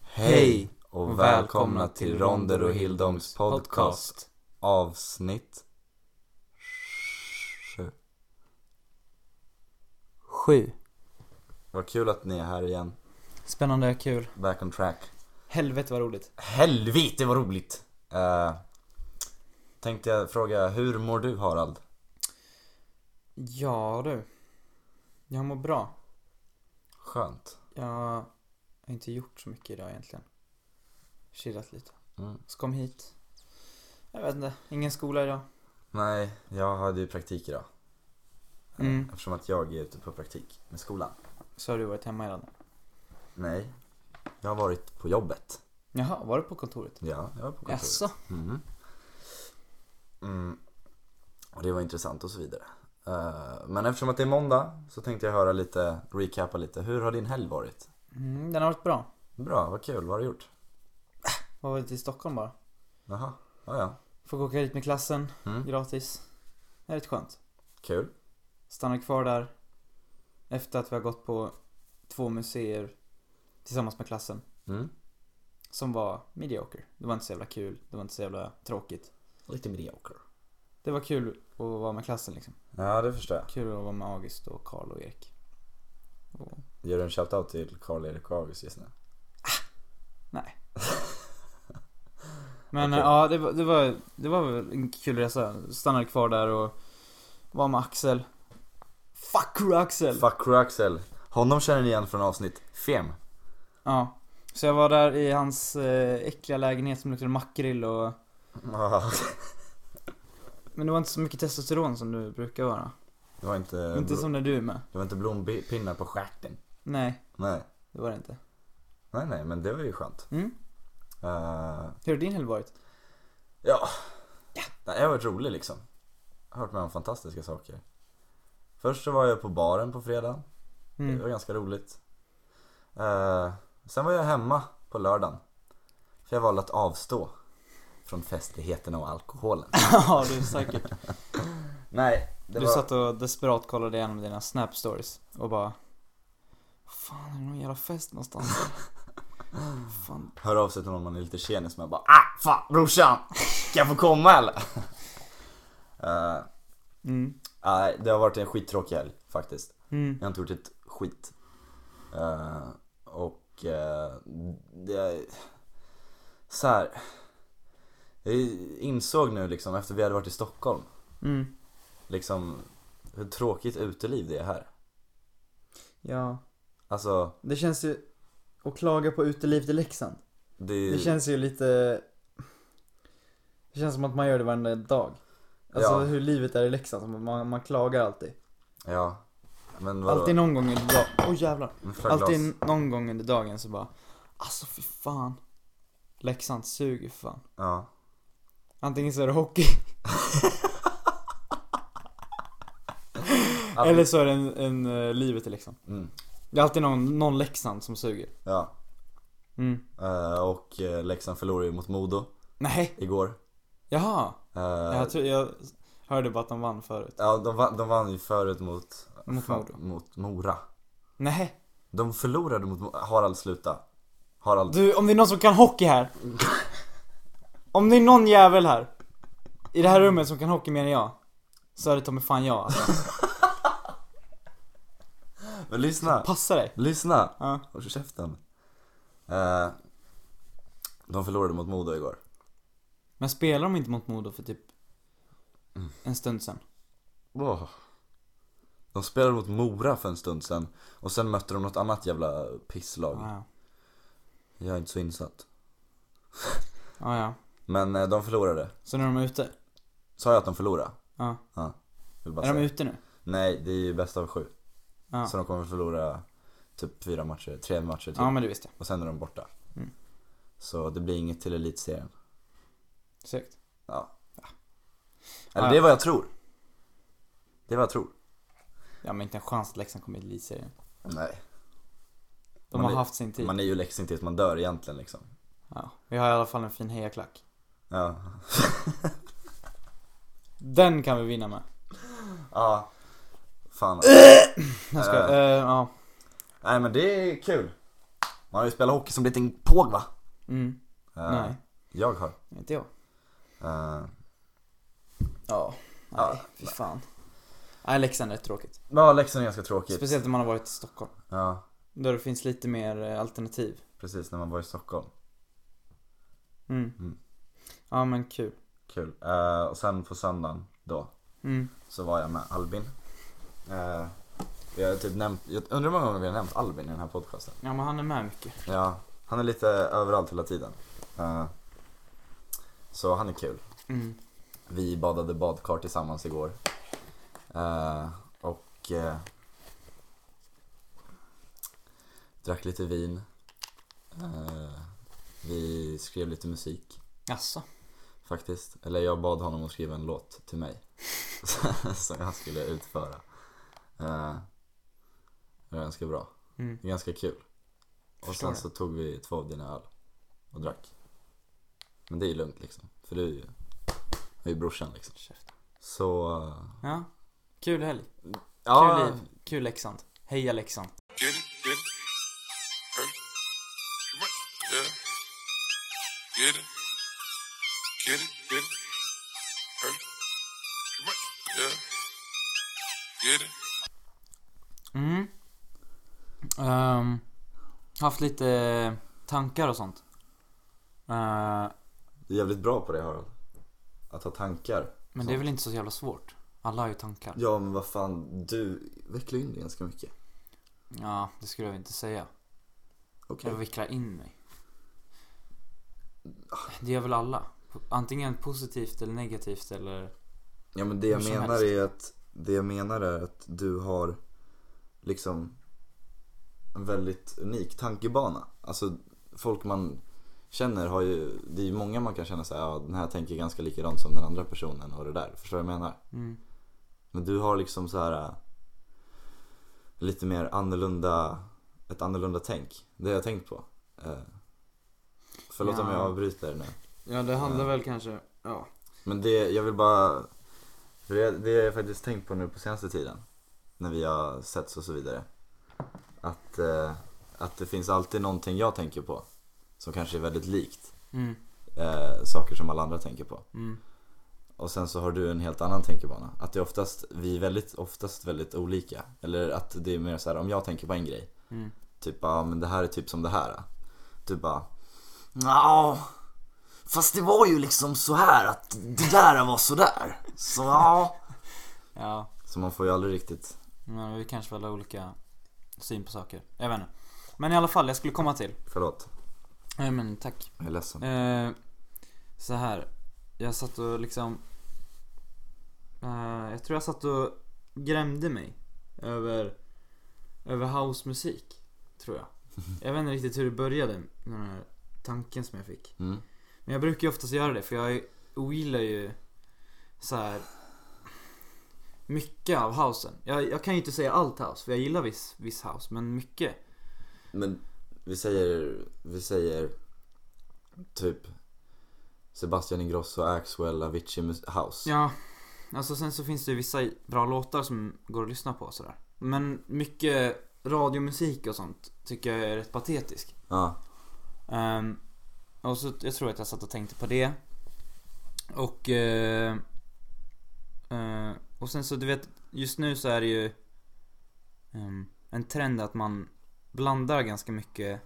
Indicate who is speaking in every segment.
Speaker 1: Hej och välkomna till Ronder och Hildoms podcast avsnitt sju.
Speaker 2: Sju.
Speaker 1: Vad kul att ni är här igen.
Speaker 2: Spännande, kul.
Speaker 1: Back on track.
Speaker 2: Helvete vad roligt.
Speaker 1: Helvete vad roligt! Eh, tänkte jag fråga, hur mår du Harald?
Speaker 2: Ja du. Jag mår bra.
Speaker 1: Skönt.
Speaker 2: Jag har inte gjort så mycket idag egentligen. Chillat lite.
Speaker 1: Mm.
Speaker 2: Så kom hit. Jag vet inte, ingen skola idag.
Speaker 1: Nej, jag hade ju praktik idag. Eh,
Speaker 2: Mm.
Speaker 1: Eftersom att jag är ute på praktik med skolan.
Speaker 2: Så har du varit hemma hela dagen.
Speaker 1: Nej, jag har varit på jobbet.
Speaker 2: Jaha, var du på kontoret?
Speaker 1: Ja, jag var på kontoret.
Speaker 2: Jaså?
Speaker 1: Mm. Mm. Och det var intressant och så vidare. Eh, Men eftersom att det är måndag så tänkte jag höra lite, recapa lite. Hur har din helg varit?
Speaker 2: Mm, den har varit bra.
Speaker 1: Bra, vad kul. Vad har du gjort?
Speaker 2: Var varit i Stockholm bara.
Speaker 1: Jaha, ja ja.
Speaker 2: Fick åka hit med klassen,
Speaker 1: Mm.
Speaker 2: gratis. Det är rätt skönt.
Speaker 1: Kul.
Speaker 2: Stannar kvar där. Efter att vi har gått på två museer tillsammans med klassen.
Speaker 1: Mm.
Speaker 2: som var medioker. Det var inte så jävla kul, det var inte så jävla tråkigt.
Speaker 1: Lite medioker.
Speaker 2: Det var kul att vara med klassen liksom.
Speaker 1: Ja, det förstår jag.
Speaker 2: Kul att vara med August och Karl och Erik. Och...
Speaker 1: Ger du en shoutout till Karl-Erik och August just nu?
Speaker 2: Men
Speaker 1: Okej.
Speaker 2: eh, ja, det var, det, var, det var väl en kul resa. Stannade kvar där och var med Axel. Fuck you, Axel!
Speaker 1: Fuck you, Axel. Honom känner ni igen från avsnitt fem.
Speaker 2: Ja. Så jag var där i hans eh, äckliga lägenhet som luktade makrill och...
Speaker 1: Ah,
Speaker 2: Men det var inte så mycket testosteron som du brukar vara.
Speaker 1: Det var inte,
Speaker 2: inte som när du är med.
Speaker 1: det var inte blompinnar på stjärten.
Speaker 2: Nej,
Speaker 1: Nej.
Speaker 2: det var det inte.
Speaker 1: Nej, nej, men det var ju skönt.
Speaker 2: Mm.
Speaker 1: Eh,
Speaker 2: Hur har din helg varit?
Speaker 1: Ja. Nej, jag har varit rolig liksom. Jag har varit med om fantastiska saker. Först så var jag på baren på fredagen. Det
Speaker 2: Mm.
Speaker 1: var ganska roligt. Eh, sen var jag hemma på lördagen. För jag valde att avstå från festligheterna och alkoholen.
Speaker 2: ja, du är säker.
Speaker 1: Nej, det
Speaker 2: du
Speaker 1: var...
Speaker 2: satt och desperat kollade igenom dina snap stories och bara Fan, är det någon jävla fest någonstans? Fan.
Speaker 1: Hör av sig till någon man är lite tjenis med bara ah, fan brorsan! Kan jag få komma eller? Eh,
Speaker 2: Mm.
Speaker 1: Nej, det har varit en skittråkig helg faktiskt.
Speaker 2: Mm.
Speaker 1: Jag har inte gjort ett skit. Eh, och eh, det... Så här. Jag insåg nu liksom efter vi hade varit i Stockholm,
Speaker 2: Mm.
Speaker 1: liksom hur tråkigt uteliv det är här.
Speaker 2: Ja.
Speaker 1: Alltså,
Speaker 2: Det känns ju, att klaga på utelivet i Leksand.
Speaker 1: det,
Speaker 2: Det känns ju lite Det känns som att man gör det varenda dag. Alltså
Speaker 1: Ja.
Speaker 2: hur livet är i Leksand, som man, man klagar alltid.
Speaker 1: Ja. Men vadå?
Speaker 2: Alltid någon gång under dagen, åh jävlar.
Speaker 1: Men för glas.
Speaker 2: Alltid någon gång under dagen så bara Alltså för fan. Leksand suger för fan.
Speaker 1: Ja.
Speaker 2: Antingen så är det hockey
Speaker 1: Att-
Speaker 2: Eller så är det en, en eh, livet i Leksand.
Speaker 1: Mm.
Speaker 2: Det är alltid någon, någon Leksand som suger.
Speaker 1: Ja.
Speaker 2: Mm.
Speaker 1: Eh, och eh, Leksand förlorade ju mot Modo
Speaker 2: Nej,
Speaker 1: igår.
Speaker 2: jaha.
Speaker 1: Eh,
Speaker 2: Jag, tror, jag hörde bara att de vann förut.
Speaker 1: Ja, de vann, de vann ju förut mot,
Speaker 2: Mot Modo.
Speaker 1: mot Mora.
Speaker 2: Nej.
Speaker 1: De förlorade mot Mo- Harald, sluta. Harald,
Speaker 2: Du, om det är någon som kan hockey här. Om det är någon jävel här. I det här rummet som kan hockey mer än jag. Så är det ta mig fan jag. Alltså,
Speaker 1: men lyssna.
Speaker 2: passa dig.
Speaker 1: Lyssna!
Speaker 2: Ja.
Speaker 1: Håll käften. Eh, de förlorade mot Modo igår.
Speaker 2: Men spelar de inte mot Modo för typ en stund sen?
Speaker 1: De spelade mot Mora för en stund sen och sen mötte de något annat jävla pisslag.
Speaker 2: Ah, ja.
Speaker 1: Jag är inte så insatt.
Speaker 2: Ah, ja.
Speaker 1: Men eh, de förlorade.
Speaker 2: Så nu är de ute?
Speaker 1: Sa jag att de förlorade?
Speaker 2: Ja.
Speaker 1: Vill bara
Speaker 2: Är de
Speaker 1: säga.
Speaker 2: ute nu?
Speaker 1: Nej, det är ju bäst av sju.
Speaker 2: Ja.
Speaker 1: Så typ. de kommer förlora typ fyra matcher, tre matcher till.
Speaker 2: Ja men det visste jag.
Speaker 1: Och sen är de borta.
Speaker 2: Mm.
Speaker 1: Så det blir inget till elitserien.
Speaker 2: Sökt.
Speaker 1: Ja. Eller
Speaker 2: Ja.
Speaker 1: det är vad jag tror. Det är vad jag tror.
Speaker 2: Ja men inte en chans att Leksand kommer i elitserien.
Speaker 1: Nej.
Speaker 2: De
Speaker 1: Man
Speaker 2: har
Speaker 1: är-
Speaker 2: haft sin tid.
Speaker 1: Man är ju Leksand tills man dör egentligen liksom.
Speaker 2: Ja. Vi har i alla fall en fin hejaklack.
Speaker 1: Ja.
Speaker 2: Den kan vi vinna med.
Speaker 1: Ja. Fan.
Speaker 2: Jag ska,
Speaker 1: Äh.
Speaker 2: eh, ja.
Speaker 1: Nej men det är kul. Man har ju spelat hockey som liten påg va?
Speaker 2: Mm.
Speaker 1: Eh,
Speaker 2: Nej,
Speaker 1: Jag har.
Speaker 2: inte jag.
Speaker 1: Eh,
Speaker 2: Ja, nej,
Speaker 1: Ja.
Speaker 2: fy fan. Nej, Leksand är rätt tråkigt.
Speaker 1: ja, Leksand är ganska tråkigt.
Speaker 2: Speciellt när man har varit i Stockholm.
Speaker 1: Ja,
Speaker 2: Där det finns lite mer eh, alternativ.
Speaker 1: precis. När man var i Stockholm.
Speaker 2: Mm.
Speaker 1: Mm.
Speaker 2: Ja men kul.
Speaker 1: Kul. Eh, och sen på söndagen då
Speaker 2: Mm.
Speaker 1: så var jag med Albin. Eh, vi har typ nämnt, jag undrar hur många gånger vi har nämnt Albin i den här podcasten.
Speaker 2: Ja men han är med mycket.
Speaker 1: Ja, han är lite överallt hela tiden. Eh, så han är kul.
Speaker 2: Mm.
Speaker 1: Vi badade badkar tillsammans igår. Eh, och eh, drack lite vin. Eh, vi skrev lite musik.
Speaker 2: Jaså?
Speaker 1: Faktiskt. Eller jag bad honom att skriva en låt till mig. som jag skulle utföra. Eh, det var ganska bra.
Speaker 2: Mm.
Speaker 1: Det är ganska kul. Och
Speaker 2: Förstår
Speaker 1: sen
Speaker 2: det.
Speaker 1: så tog vi två av dina öl. Och drack. Men det är ju lugnt liksom. För du är ju, du är ju brorsan liksom.
Speaker 2: Käften.
Speaker 1: Så... eh,
Speaker 2: Ja. Kul helg. Kul
Speaker 1: Ja,
Speaker 2: liv. Kul Leksand. Heja Leksand.
Speaker 3: Get it, get it. Hurt. Yeah. Get it. Get it, get it. Hurt. Yeah. Get it.
Speaker 2: Mm. Ehm, haft lite tankar och sånt. Eh,
Speaker 1: du är jävligt bra på det Harald. Att ha tankar.
Speaker 2: men det är väl inte så jävla svårt? Alla har ju tankar.
Speaker 1: Ja men vad fan, du vecklar in det ganska mycket.
Speaker 2: Ja, det skulle jag inte säga.
Speaker 1: Okej.
Speaker 2: Jag vicklar in mig. Det gör väl alla. Antingen positivt eller negativt eller...
Speaker 1: Ja men det jag
Speaker 2: Hur som
Speaker 1: menar
Speaker 2: helst.
Speaker 1: är att Det jag menar är att du har Liksom En väldigt unik tankebana Alltså folk man känner har ju Det är ju många man kan känna såhär ja, Den här tänker ganska likadant som den andra personen och det där Förstår du vad jag menar?
Speaker 2: Mm.
Speaker 1: Men du har liksom så här äh, Lite mer annorlunda Ett annorlunda tänk Det har jag tänkt på Eh, Förlåt om
Speaker 2: Ja.
Speaker 1: jag avbryter nu
Speaker 2: Ja, det handlar väl kanske... Ja.
Speaker 1: men det, jag vill bara för det, det har jag faktiskt tänkt på nu på senaste tiden När vi har setts och så vidare Att, eh, att det finns alltid någonting jag tänker på Som kanske är väldigt likt
Speaker 2: Mm,
Speaker 1: eh, Saker som alla andra tänker på
Speaker 2: mm,
Speaker 1: Och sen så har du en helt annan tänkebana Att det är oftast, vi är väldigt, oftast väldigt olika Eller att det är mer så här om jag tänker på en grej
Speaker 2: mm.
Speaker 1: Typ ja men det här är typ som det här. Du bara ja fast det var ju liksom så här att det där var så där. Så ja.
Speaker 2: Ja,
Speaker 1: Så man får ju aldrig riktigt.
Speaker 2: men vi kanske väl har olika syn på saker. Jag vet inte. Men i alla fall, jag skulle komma till.
Speaker 1: Förlåt,
Speaker 2: Nej men tack.
Speaker 1: jag är ledsen.
Speaker 2: Eh, så här. Jag satt och liksom... Eh, jag tror jag satt och grämde mig över, över housemusik. Tror jag. Jag vet inte riktigt hur det började, den här tanken som jag fick.
Speaker 1: Mm.
Speaker 2: Men jag brukar ju oftast göra det för jag ogillar ju så här mycket av housen. Jag, jag kan ju inte säga allt house för jag gillar viss, viss house men mycket.
Speaker 1: Men vi säger, vi säger typ Sebastian Ingrosso, Axwell, Avicii mus- House.
Speaker 2: Ja, alltså sen så finns det ju vissa bra låtar som går att lyssna på och sådär. Men mycket radiomusik och sånt tycker jag är rätt patetisk.
Speaker 1: Ja.
Speaker 2: Ehm, och så jag tror att jag satt och tänkte på det. Och... eh, eh, och sen så du vet, just nu så är det ju ehm, en trend att man blandar ganska mycket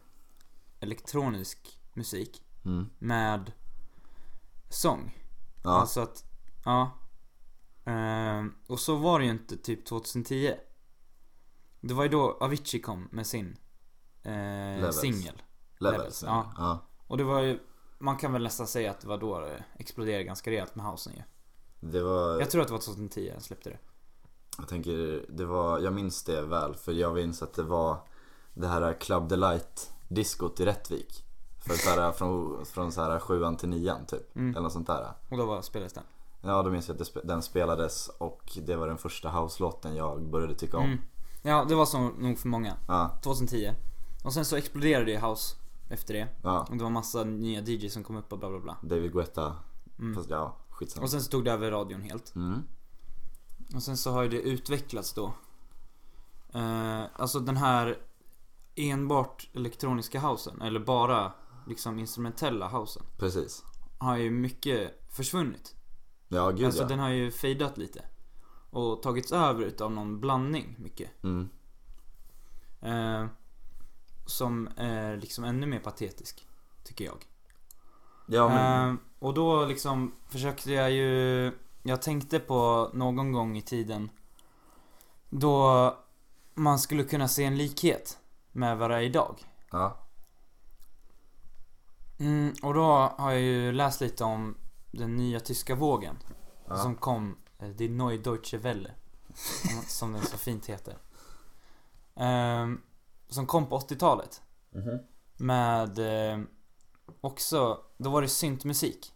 Speaker 2: elektronisk musik
Speaker 1: Mm.
Speaker 2: med sång.
Speaker 1: Ja.
Speaker 2: Alltså att, ja. Ehm, och så var det ju inte typ 2010. Det var ju då Avicii kom med sin eh,
Speaker 1: Levels.
Speaker 2: singel.
Speaker 1: Levels.
Speaker 2: Levels,
Speaker 1: ja.
Speaker 2: ja.
Speaker 1: ja.
Speaker 2: Och det var ju, man kan väl nästan säga att det var då det exploderade ganska rejält med housen ju.
Speaker 1: Det var,
Speaker 2: Jag tror att det var 2010 han släppte det.
Speaker 1: jag tänker, det var, jag minns det väl för jag minns att det var det här Club Delight diskot i Rättvik. För så här, från, från så här sjuan till nian typ.
Speaker 2: Mm.
Speaker 1: Eller något sånt där.
Speaker 2: Och då var spelades den.
Speaker 1: Ja, då minns jag att det, spe- den spelades och det var den första house-låten jag började tycka om.
Speaker 2: Mm. Ja, det var så nog för många.
Speaker 1: Ja,
Speaker 2: 2010. Och sen så exploderade ju house efter det.
Speaker 1: ja.
Speaker 2: Och det var massa nya DJs som kom upp och bla bla bla.
Speaker 1: David Guetta. Fast ja, skitsamma.
Speaker 2: Mm. Och sen så tog det över radion helt.
Speaker 1: Mm.
Speaker 2: Och sen så har ju det utvecklats då. Eh, alltså den här enbart elektroniska housen, eller bara liksom instrumentella housen,
Speaker 1: Precis.
Speaker 2: har ju mycket försvunnit.
Speaker 1: Ja, gud
Speaker 2: alltså
Speaker 1: ja.
Speaker 2: den har ju fejdat lite. Och tagits över utav någon blandning mycket.
Speaker 1: Mm.
Speaker 2: Eh, som är liksom ännu mer patetisk, tycker jag.
Speaker 1: Ja, men,
Speaker 2: Eh, och då liksom försökte jag ju, jag tänkte på någon gång i tiden då man skulle kunna se en likhet med vad det är idag.
Speaker 1: ja.
Speaker 2: Mm, och då har jag ju läst lite om den nya tyska vågen
Speaker 1: Ja.
Speaker 2: som kom, eh, Die Neue Deutsche Welle, som- som den så fint heter. Ehm, som kom på 80-talet
Speaker 1: Mhm.
Speaker 2: med eh, också, då var det syntmusik.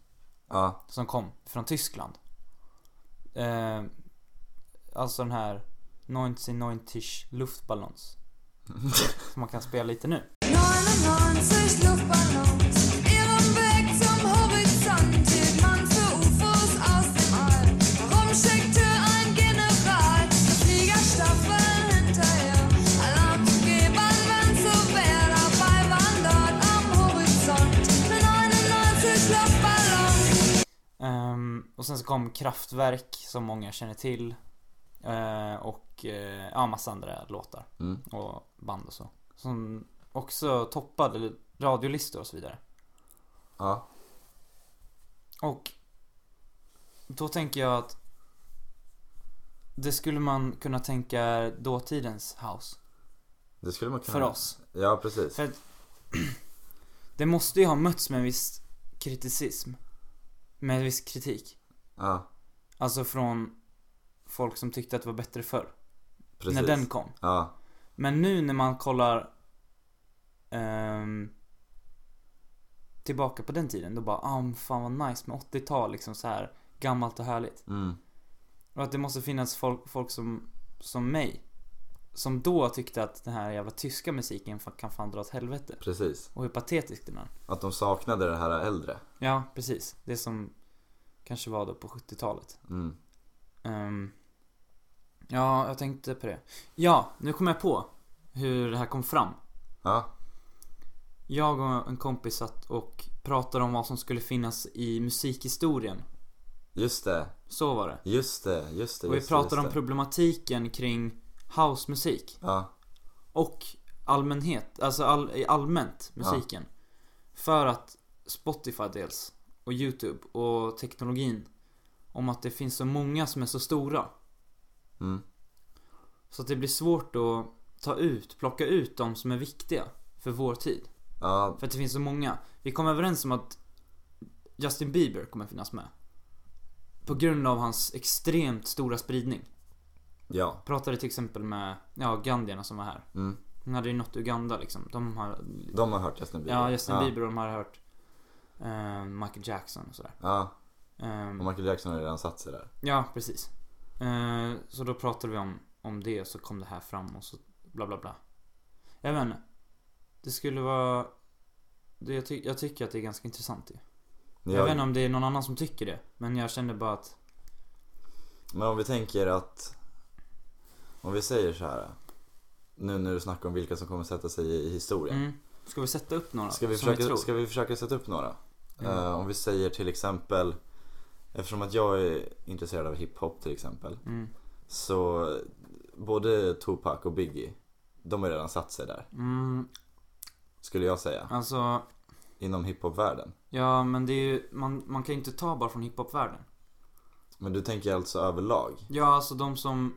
Speaker 1: Ja,
Speaker 2: som kom från Tyskland. Eh, alltså den här 1990 luftballons. som man kan spela lite nu.
Speaker 4: 99 Luftballons, ihren Weg zum Horizont hielt man für UFOs aus dem All. Warum schickte ein General eine Fliegerstaffel hinterher? Alarm zu geben, wenn's so wär. Dabei waren dort am Horizont 99 Luftballons.
Speaker 2: Ehm, och sen så kom Kraftwerk som många känner till. Eh, och eh, ja, massa andra låtar
Speaker 1: Mm.
Speaker 2: och band och så. Som också toppade radiolistor och så vidare.
Speaker 1: ja.
Speaker 2: Och då tänker jag att det skulle man kunna tänka är dåtidens house
Speaker 1: Det skulle man kunna...
Speaker 2: för oss.
Speaker 1: Ja, precis.
Speaker 2: För att det måste ju ha mötts med en viss kriticism. Med en viss kritik.
Speaker 1: Ja,
Speaker 2: Alltså från folk som tyckte att det var bättre förr.
Speaker 1: precis.
Speaker 2: När den kom.
Speaker 1: Ja,
Speaker 2: Men nu när man kollar ehm, tillbaka på den tiden, då bara ah, men fan vad nice med 80-tal liksom så här gammalt och härligt.
Speaker 1: mm.
Speaker 2: Och att det måste finnas folk, folk som, som mig. Som då tyckte att den här jävla tyska musiken fan- kan fan dra åt helvete.
Speaker 1: precis.
Speaker 2: Och hur patetisk den är.
Speaker 1: Att de saknade det här äldre.
Speaker 2: Ja, precis. Det som kanske var då på 70-talet.
Speaker 1: Mm.
Speaker 2: Ehm, ja, jag tänkte på det. Ja, nu kom jag på hur det här kom fram.
Speaker 1: Ja,
Speaker 2: Jag och en kompis satt och pratade om vad som skulle finnas i musikhistorien.
Speaker 1: just det.
Speaker 2: Så var det.
Speaker 1: Just det, just det.
Speaker 2: Och vi
Speaker 1: just det,
Speaker 2: pratade
Speaker 1: just
Speaker 2: om
Speaker 1: det.
Speaker 2: problematiken kring housemusik.
Speaker 1: Ja,
Speaker 2: Och allmänhet, alltså all, i allmänt musiken. För att Spotify dels och YouTube och teknologin. Om att det finns så många som är så stora.
Speaker 1: Mm.
Speaker 2: Så att det blir svårt att ta ut, plocka ut de som är viktiga för vår tid.
Speaker 1: ja,
Speaker 2: För att det finns så många. Vi kom överens om att Justin Bieber kommer finnas med. På grund av hans extremt stora spridning.
Speaker 1: ja.
Speaker 2: Pratade till exempel med, ja, Gandhierna som var här.
Speaker 1: Mm.
Speaker 2: Hon hade ju nått Uganda liksom. De har
Speaker 1: De har hört Justin Bieber.
Speaker 2: Ja, Justin Bieber de har hört eh, Michael Jackson och sådär.
Speaker 1: Ja,
Speaker 2: Ehm,
Speaker 1: och Michael Jackson har redan satt sig där.
Speaker 2: ja, precis. Eh, så då pratade vi om, om det och så kom det här fram och så bla bla bla. Jag vet inte. Det skulle vara... Det, jag, ty- jag tycker att det är ganska intressant ju.
Speaker 1: Ni
Speaker 2: Jag
Speaker 1: har-
Speaker 2: vet inte om det är någon annan som tycker det. Men jag kände bara att...
Speaker 1: Men om vi tänker att... Om vi säger så här. Nu när du snackar om vilka som kommer sätta sig i historien.
Speaker 2: Mm, ska vi sätta upp några?
Speaker 1: Ska vi,
Speaker 2: som vi
Speaker 1: försöka,
Speaker 2: tror?
Speaker 1: ska vi försöka sätta upp några?
Speaker 2: Mm.
Speaker 1: Eh, om vi säger till exempel, eftersom att jag är intresserad av hiphop till exempel.
Speaker 2: Mm.
Speaker 1: Så både Tupac och Biggie, de har redan satt sig där.
Speaker 2: Mm,
Speaker 1: Skulle jag säga.
Speaker 2: alltså...
Speaker 1: Inom hiphopvärlden.
Speaker 2: Ja, men det är ju... Man, man kan ju inte ta bara från hiphopvärlden.
Speaker 1: Men du tänker alltså överlag?
Speaker 2: Ja, alltså de som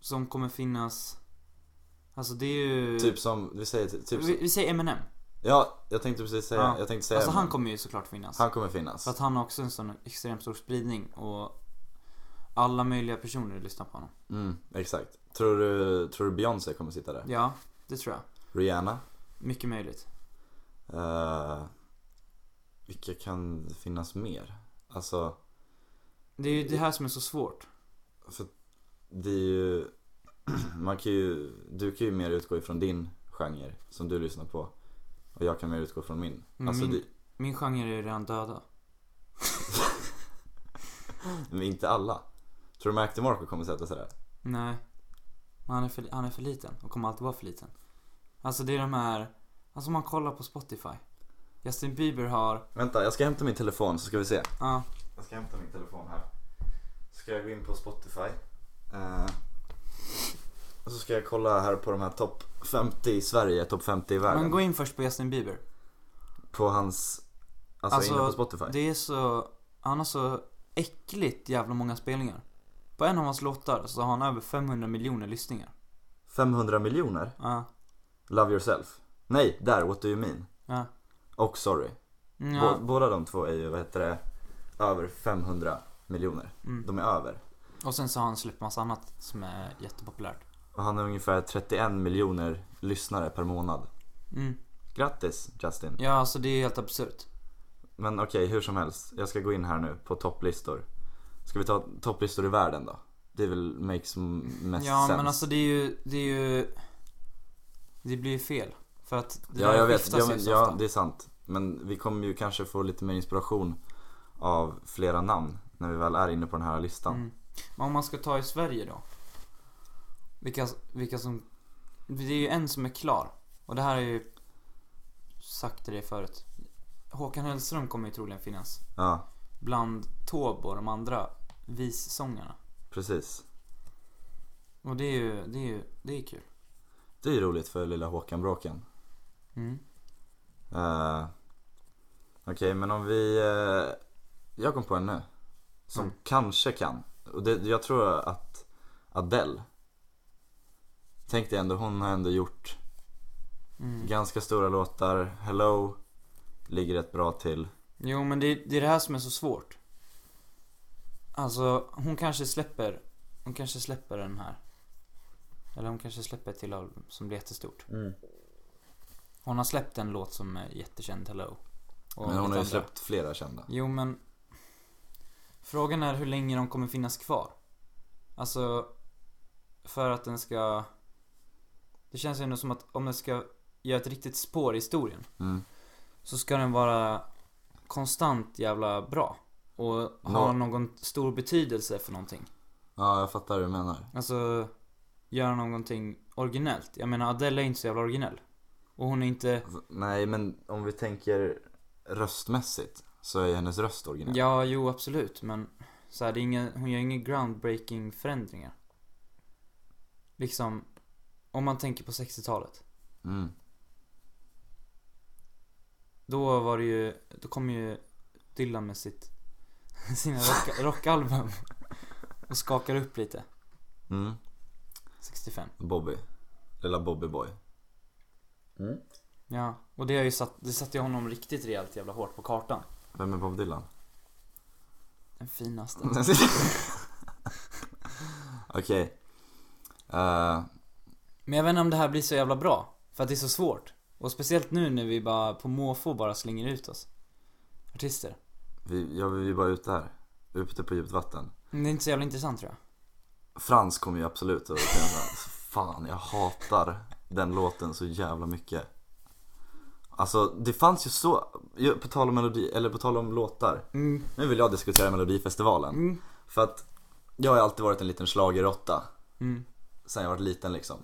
Speaker 2: Som kommer finnas Alltså det är ju
Speaker 1: Typ som, vi säger typ
Speaker 2: vi,
Speaker 1: som,
Speaker 2: vi säger Eminem
Speaker 1: Ja, jag tänkte precis säga,
Speaker 2: Ja.
Speaker 1: jag tänkte säga
Speaker 2: Alltså han
Speaker 1: men
Speaker 2: kommer ju såklart finnas
Speaker 1: han kommer finnas.
Speaker 2: För att han har också en sån extremt stor spridning och Alla möjliga personer lyssnar på honom
Speaker 1: Mm, exakt. Tror du, tror du Beyoncé kommer sitta där?
Speaker 2: Ja, det tror jag
Speaker 1: Rihanna?
Speaker 2: Mycket möjligt
Speaker 1: Eh, vilka kan det finnas mer? Alltså,
Speaker 2: Det är ju det här som är så svårt
Speaker 1: för det är ju... Man kan ju, du kan ju mer utgå ifrån din genre som du lyssnar på. Och jag kan mer utgå från min.
Speaker 2: Men
Speaker 1: alltså,
Speaker 2: min-
Speaker 1: det,
Speaker 2: Min genre är ju redan döda
Speaker 1: men inte alla. Tror du Mark DeMarco kommer sätta sig där?
Speaker 2: Nej Men han är för, han är för liten och kommer alltid vara för liten Alltså det är de här, alltså om man kollar på Spotify. Justin Bieber har,
Speaker 1: Vänta, jag ska hämta min telefon så ska vi se.
Speaker 2: ja,
Speaker 1: Jag ska hämta min telefon här. Ska jag gå in på Spotify. Eh, och så ska jag kolla här på de här topp 50 i Sverige, topp 50 i världen.
Speaker 2: men gå in först på Justin Bieber.
Speaker 1: På hans... Alltså,
Speaker 2: Alltså,
Speaker 1: inne på Spotify.
Speaker 2: Det är så, han har så äckligt jävla många spelningar. På en av hans låtar så har han över 500 miljoner lyssningar.
Speaker 1: 500 miljoner?
Speaker 2: Ja,
Speaker 1: Love yourself? Nej, där, what do you mean?
Speaker 2: ja.
Speaker 1: Och sorry.
Speaker 2: ja.
Speaker 1: Bå- båda de två är ju, vad heter det, över 500 miljoner.
Speaker 2: Mm.
Speaker 1: De är över.
Speaker 2: Och sen så har han släppt massa annat som är jättepopulärt.
Speaker 1: Och han har ungefär 31 miljoner lyssnare per månad.
Speaker 2: Mm.
Speaker 1: Grattis Justin.
Speaker 2: Ja, alltså det är helt absurt.
Speaker 1: Men okej, hur som helst. Jag ska gå in här nu på topplistor. Ska vi ta topplistor i världen då? Det är väl makes m- mest
Speaker 2: Ja,
Speaker 1: sense.
Speaker 2: men alltså det är ju, det är ju... Det blir ju fel. För att det
Speaker 1: ja,
Speaker 2: där
Speaker 1: jag vet.
Speaker 2: skiftas
Speaker 1: Ja,
Speaker 2: ju
Speaker 1: men,
Speaker 2: så
Speaker 1: ja,
Speaker 2: ofta.
Speaker 1: det är sant. Men vi kommer ju kanske få lite mer inspiration av flera namn när vi väl är inne på den här listan.
Speaker 2: Mm. Men om man ska ta i Sverige då? Vilka, vilka som... Det är ju en som är klar. Och det här är ju... Sagt till dig förut. Håkan Hellström kommer ju troligen finnas.
Speaker 1: Ja,
Speaker 2: Bland Taube och de andra vissångarna.
Speaker 1: precis.
Speaker 2: Och det är ju, det är ju, det är kul.
Speaker 1: Det är ju roligt för lilla Håkan Bråken.
Speaker 2: Mm.
Speaker 1: Eh, Okej, men om vi... eh, jag kom på en nu. Som
Speaker 2: Mm.
Speaker 1: kanske kan. Och det, jag tror att Adele. Tänk dig ändå, hon har ändå gjort
Speaker 2: Mm.
Speaker 1: ganska stora låtar. Hello ligger rätt bra till.
Speaker 2: Jo men det, det är det här som är så svårt. Alltså hon kanske släpper, hon kanske släpper den här. Eller hon kanske släpper ett till album som blir jättestort. Hon har släppt en låt som är jättekänd, Hello. Och
Speaker 1: men hon
Speaker 2: lite
Speaker 1: har ju
Speaker 2: andra.
Speaker 1: släppt flera kända.
Speaker 2: Jo men. Frågan är hur länge de kommer finnas kvar. Alltså. För att den ska. Det känns ju ändå som att om den ska göra ett riktigt spår i historien.
Speaker 1: Mm.
Speaker 2: Så ska den vara konstant jävla bra. Och ha
Speaker 1: Ja.
Speaker 2: någon stor betydelse för någonting.
Speaker 1: Ja, jag fattar hur du menar.
Speaker 2: Alltså, göra någonting originellt. Jag menar Adele är inte så jävla originell. Och hon är inte...
Speaker 1: V- Alltså, Nej, men om vi tänker röstmässigt så är hennes röst originell.
Speaker 2: Ja, jo absolut, men så här, det är inga, hon gör inga groundbreaking förändringar. Liksom, om man tänker på 60-talet.
Speaker 1: Mm.
Speaker 2: Då var det ju, då kom ju Dylan med sitt, sina rock, rockalbum. Och skakar upp lite,
Speaker 1: Mm.
Speaker 2: 65.
Speaker 1: Bobby. Lilla Bobby Boy.
Speaker 2: Ja, och det har ju satt, det satte ju honom riktigt rejält jävla hårt på kartan.
Speaker 1: Vem är Bob Dylan?
Speaker 2: Den finaste.
Speaker 1: Okej. Eh,
Speaker 2: Men jag vet inte om det här blir så jävla bra, för att det är så svårt. Och speciellt nu när vi bara på måfå bara slänger ut oss. Artister.
Speaker 1: vi, ja, vi är bara ute här. Ute på djupt vatten.
Speaker 2: Men det är inte så jävla intressant tror jag.
Speaker 1: Frans kommer ju absolut att känna så här, Fan, jag hatar den låten så jävla mycket. Alltså, det fanns ju så... ju- På tal om melodi, eller på tal om låtar.
Speaker 2: Mm.
Speaker 1: Nu vill jag diskutera Melodifestivalen.
Speaker 2: Mm.
Speaker 1: För att jag har ju alltid varit en liten schlagerrotta.
Speaker 2: Mm.
Speaker 1: Sen jag var liten liksom.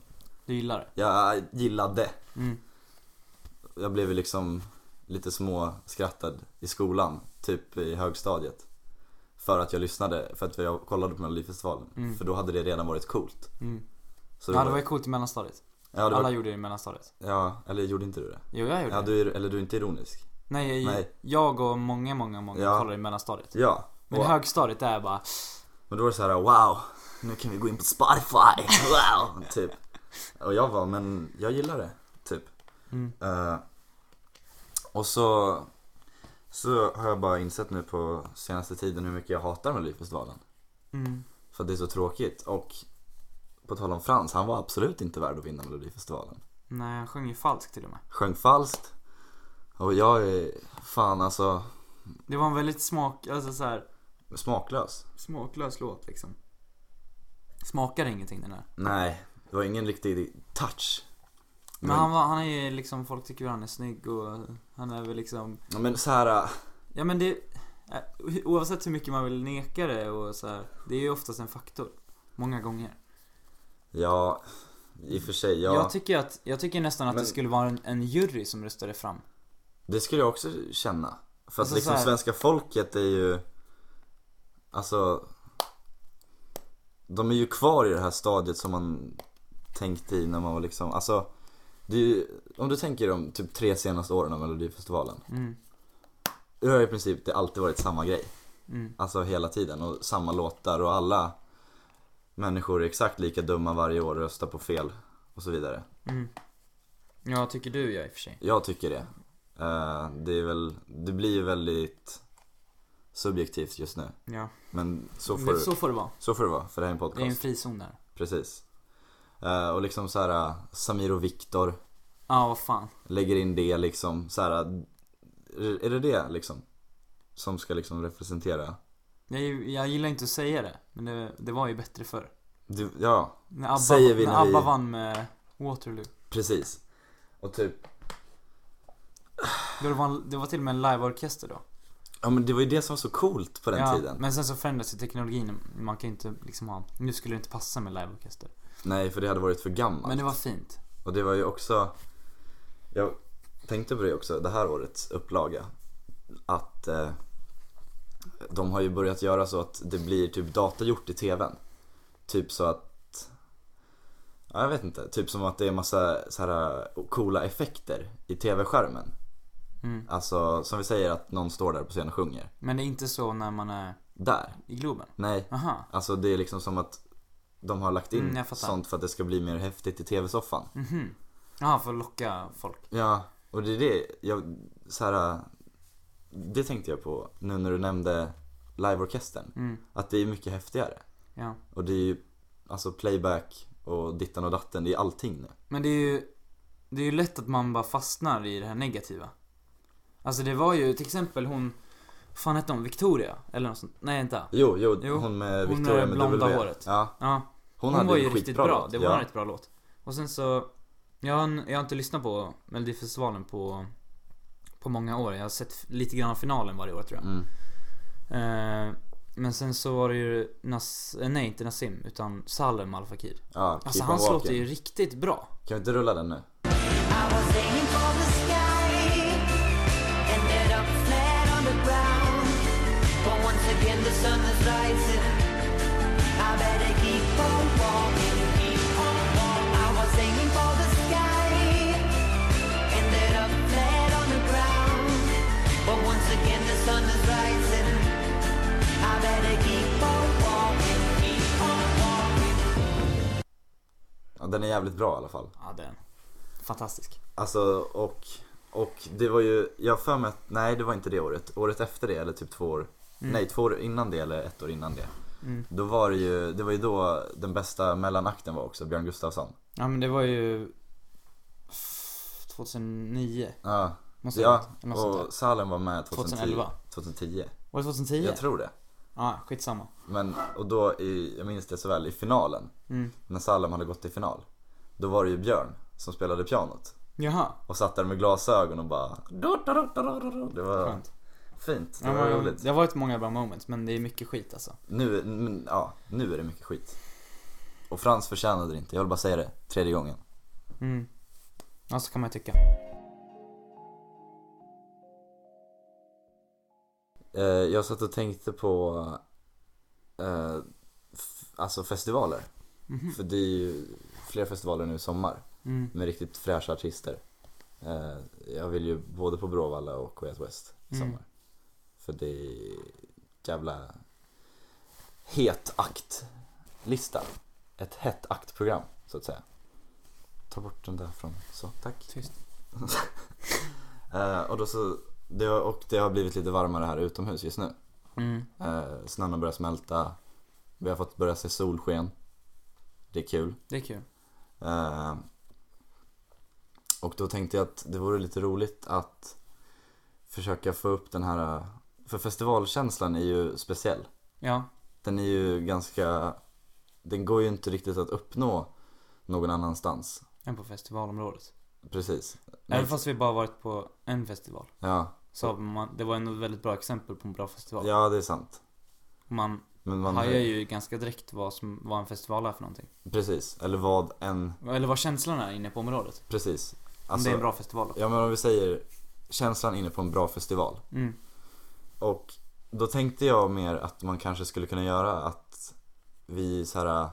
Speaker 2: Du gillar det.
Speaker 1: Jag gillade.
Speaker 2: Mm.
Speaker 1: Jag blev ju liksom lite småskrattad i skolan, typ i högstadiet. För att jag lyssnade, för att jag kollade på Melodifestivalen.
Speaker 2: Mm.
Speaker 1: För då hade det redan varit coolt.
Speaker 2: Mm.
Speaker 1: Så
Speaker 2: Ja, det var ju coolt i mellanstadiet.
Speaker 1: ja, det
Speaker 2: Alla
Speaker 1: var,
Speaker 2: gjorde det i mellanstadiet.
Speaker 1: ja, eller gjorde inte du det?
Speaker 2: Jo, jag gjorde
Speaker 1: Ja,
Speaker 2: det.
Speaker 1: du är, eller du är inte ironisk?
Speaker 2: Nej, jag,
Speaker 1: Nej.
Speaker 2: jag och många, många, många
Speaker 1: Ja.
Speaker 2: kollade i mellanstadiet.
Speaker 1: Ja.
Speaker 2: Men
Speaker 1: Och-
Speaker 2: högstadiet, det är bara...
Speaker 1: Men då var det så här: wow, nu kan vi gå in på Spotify, wow, typ. Och jag var, men jag gillar det, typ.
Speaker 2: Mm.
Speaker 1: Eh, och så, så har jag bara insett nu på senaste tiden hur mycket jag hatar Melodifestivalen.
Speaker 2: Mm.
Speaker 1: För att det är så tråkigt. Och på tal om Frans, han var absolut inte värd att vinna Melodifestivalen.
Speaker 2: Nej, han sjöng ju falskt till och med.
Speaker 1: Sjöng falskt. Och jag är, fan alltså,
Speaker 2: Det var en väldigt smak... Alltså så här,
Speaker 1: smaklös.
Speaker 2: smaklös låt liksom. Smakar ingenting den här.
Speaker 1: Nej, det var ingen riktig touch.
Speaker 2: Men han, var, han är ju liksom, folk tycker ju han är snygg och han är väl liksom...
Speaker 1: Ja, men så här. eh,
Speaker 2: Ja men det... eh, Oavsett hur mycket man vill neka det och så här, Det är ju oftast en faktor. Många gånger.
Speaker 1: Ja, I och för sig, ja.
Speaker 2: Jag tycker att, jag tycker nästan att
Speaker 1: Men-
Speaker 2: det skulle vara en, en jury som röstade fram.
Speaker 1: Det skulle jag också känna. För att
Speaker 2: Alltså,
Speaker 1: liksom
Speaker 2: så här-
Speaker 1: svenska folket är ju... Alltså... De är ju kvar i det här stadiet som man tänkte i när man var liksom... Alltså, det är ju, om du tänker de typ tre senaste åren av Melodifestivalen.
Speaker 2: Mm.
Speaker 1: Det har i princip det alltid varit samma grej.
Speaker 2: Mm.
Speaker 1: Alltså hela tiden och samma låtar och alla människor är exakt lika dumma varje år och röstar på fel och så vidare.
Speaker 2: Ja, tycker du ja i och för sig.
Speaker 1: Jag tycker det. Eh, det, är väl, det blir ju väldigt subjektivt just nu.
Speaker 2: Ja.
Speaker 1: Men så får,
Speaker 2: Men
Speaker 1: det,
Speaker 2: Så får det vara.
Speaker 1: så får det vara, för det här är en podcast.
Speaker 2: Det är en frizon där.
Speaker 1: Precis. Eh, och liksom så här, Samir och Viktor
Speaker 2: Ja, vad fan.
Speaker 1: lägger in det liksom. Så här, är det det liksom? Som ska liksom representera?
Speaker 2: Jag, jag gillar inte att säga det, men det, det var ju bättre förr.
Speaker 1: Du, ja,
Speaker 2: När ABBA,
Speaker 1: Säger vi
Speaker 2: när
Speaker 1: när vi-
Speaker 2: ABBA vann med Waterloo.
Speaker 1: precis. Och typ
Speaker 2: Det var, det var till och med en liveorkester då.
Speaker 1: Ja men det var ju det som var så coolt på den
Speaker 2: ja,
Speaker 1: tiden.
Speaker 2: Men sen så förändras ju teknologin. Man kan ju inte liksom ha... Nu skulle det inte passa med liveorkester.
Speaker 1: Nej för det hade varit för gammalt.
Speaker 2: Men det var fint.
Speaker 1: Och det var ju också, jag tänkte på det också, det här årets upplaga. Att eh, de har ju börjat göra så att det blir typ datagjort i tvn. Typ så att, ja, jag vet inte, typ som att det är massa så här eh, coola effekter i tv-skärmen.
Speaker 2: Mm.
Speaker 1: Alltså som vi säger att någon står där på scenen och sjunger.
Speaker 2: Men det är inte så när man är
Speaker 1: Där,
Speaker 2: i Globen.
Speaker 1: nej.
Speaker 2: Aha.
Speaker 1: Alltså det är liksom som att de har lagt in
Speaker 2: Ah. Mm, jag fattar.
Speaker 1: sånt för att det ska bli mer häftigt i tv-soffan.
Speaker 2: Mhm. Jaha, för att locka folk.
Speaker 1: Ja, och det är det jag, så här, det tänkte jag på nu när du nämnde liveorkestern.
Speaker 2: Mm.
Speaker 1: Att det är mycket häftigare.
Speaker 2: Ja.
Speaker 1: Och det är ju alltså playback och dittan och datten, det är allting nu.
Speaker 2: Men det är ju... Det är ju lätt att man bara fastnar i det här negativa. Alltså det var ju till exempel hon... Fan hette hon Victoria? Eller något sånt. Nej, inte.
Speaker 1: Jo, jo,
Speaker 2: Jo,
Speaker 1: hon med
Speaker 2: hon
Speaker 1: Victoria
Speaker 2: med
Speaker 1: med
Speaker 2: blonda
Speaker 1: W.
Speaker 2: håret.
Speaker 1: Ja,
Speaker 2: Ja.
Speaker 1: hon,
Speaker 2: Hon
Speaker 1: hade
Speaker 2: var ju
Speaker 1: en
Speaker 2: riktigt
Speaker 1: skitbra
Speaker 2: bra,
Speaker 1: låt.
Speaker 2: det var
Speaker 1: ja.
Speaker 2: en rätt bra låt. Och sen så, jag har, jag har inte lyssnat på Melodifestivalen på, på många år. Jag har sett f- lite grann av finalen varje år tror jag.
Speaker 1: Mm.
Speaker 2: Eh, men sen så var det ju Nas, eh, nej inte Nassim utan Salem Al Fakir.
Speaker 1: Ja,
Speaker 2: Alltså
Speaker 1: Keep on
Speaker 2: hans låt är
Speaker 1: Walking.
Speaker 2: ju riktigt bra.
Speaker 1: Kan vi inte rulla den nu?
Speaker 5: I was aiming for the sky, ended up flat on the ground. But once again the sun is rising. I better keep on walking, keep on walking. I was aiming for the sky, ended up flat on the ground. But once again the sun is rising. I better keep on walking, keep on walking.
Speaker 1: Ja, den är jävligt bra i alla fall.
Speaker 2: Ja den. Fantastisk.
Speaker 1: Alltså och, och det var ju, jag har för mig att, nej det var inte det året. Året efter det eller typ två år,
Speaker 2: Mm.
Speaker 1: nej två år innan det eller ett år innan det. Då var det ju, det var ju då den bästa mellanakten var också, Björn Gustafsson.
Speaker 2: Ja men det var ju f- 2009.
Speaker 1: Ja,
Speaker 2: Måste
Speaker 1: ja
Speaker 2: det något sånt där.
Speaker 1: och Salem var med 2010.
Speaker 2: 2011.
Speaker 1: 2010,
Speaker 2: Var det 2010?
Speaker 1: jag tror det.
Speaker 2: Ja, skitsamma.
Speaker 1: Men, och då, i, jag minns det så väl, i finalen,
Speaker 2: Mm.
Speaker 1: när Salem hade gått till final. Då var det ju Björn som spelade pianot.
Speaker 2: Jaha,
Speaker 1: Och satt där med glasögon och bara... Det var
Speaker 2: skönt.
Speaker 1: fint, det
Speaker 2: Ja,
Speaker 1: var
Speaker 2: men
Speaker 1: roligt.
Speaker 2: det har varit många bra moments men det är mycket skit alltså.
Speaker 1: Nu, men, ja, nu är det mycket skit. Och Frans förtjänade det inte, jag vill bara säga det, tredje gången.
Speaker 2: Mm. Ja, så kan man ju tycka.
Speaker 1: Eh, jag satt och tänkte på eh, f- alltså festivaler. För det är ju fler festivaler nu i sommar
Speaker 2: Mhm. Mm.
Speaker 1: med riktigt fräscha artister. Eh, jag vill ju både på Bråvalla och Way Out West i
Speaker 2: Mm.
Speaker 1: sommar. För det är jävla het akt-lista. Ett hett aktprogram så att säga. Ta bort den där från, så tack.
Speaker 2: Tyst.
Speaker 1: Eh, och då så, det har, och det har blivit lite varmare här utomhus just nu.
Speaker 2: Mm.
Speaker 1: Eh, snön har börjat smälta. Vi har fått börja se solsken. Det är kul.
Speaker 2: Det är kul.
Speaker 1: Eh, och då tänkte jag att det vore lite roligt att försöka få upp den här... För festivalkänslan är ju speciell.
Speaker 2: Ja.
Speaker 1: Den är ju ganska... Den går ju inte riktigt att uppnå någon annanstans.
Speaker 2: Än på festivalområdet.
Speaker 1: Precis.
Speaker 2: Även fast vi bara varit på en festival.
Speaker 1: Ja,
Speaker 2: Så man, det var ändå ett väldigt bra exempel på en bra festival.
Speaker 1: ja det är sant.
Speaker 2: Man,
Speaker 1: Men man
Speaker 2: hajar ju ganska direkt vad, som, vad en festival är för någonting.
Speaker 1: Precis, eller vad en...
Speaker 2: Eller vad känslan är inne på området.
Speaker 1: Precis.
Speaker 2: Om
Speaker 1: Alltså,
Speaker 2: det är en bra festival.
Speaker 1: Ja men om vi säger känslan inne på en bra festival.
Speaker 2: Mm.
Speaker 1: Och då tänkte jag mer att man kanske skulle kunna göra att vi så här,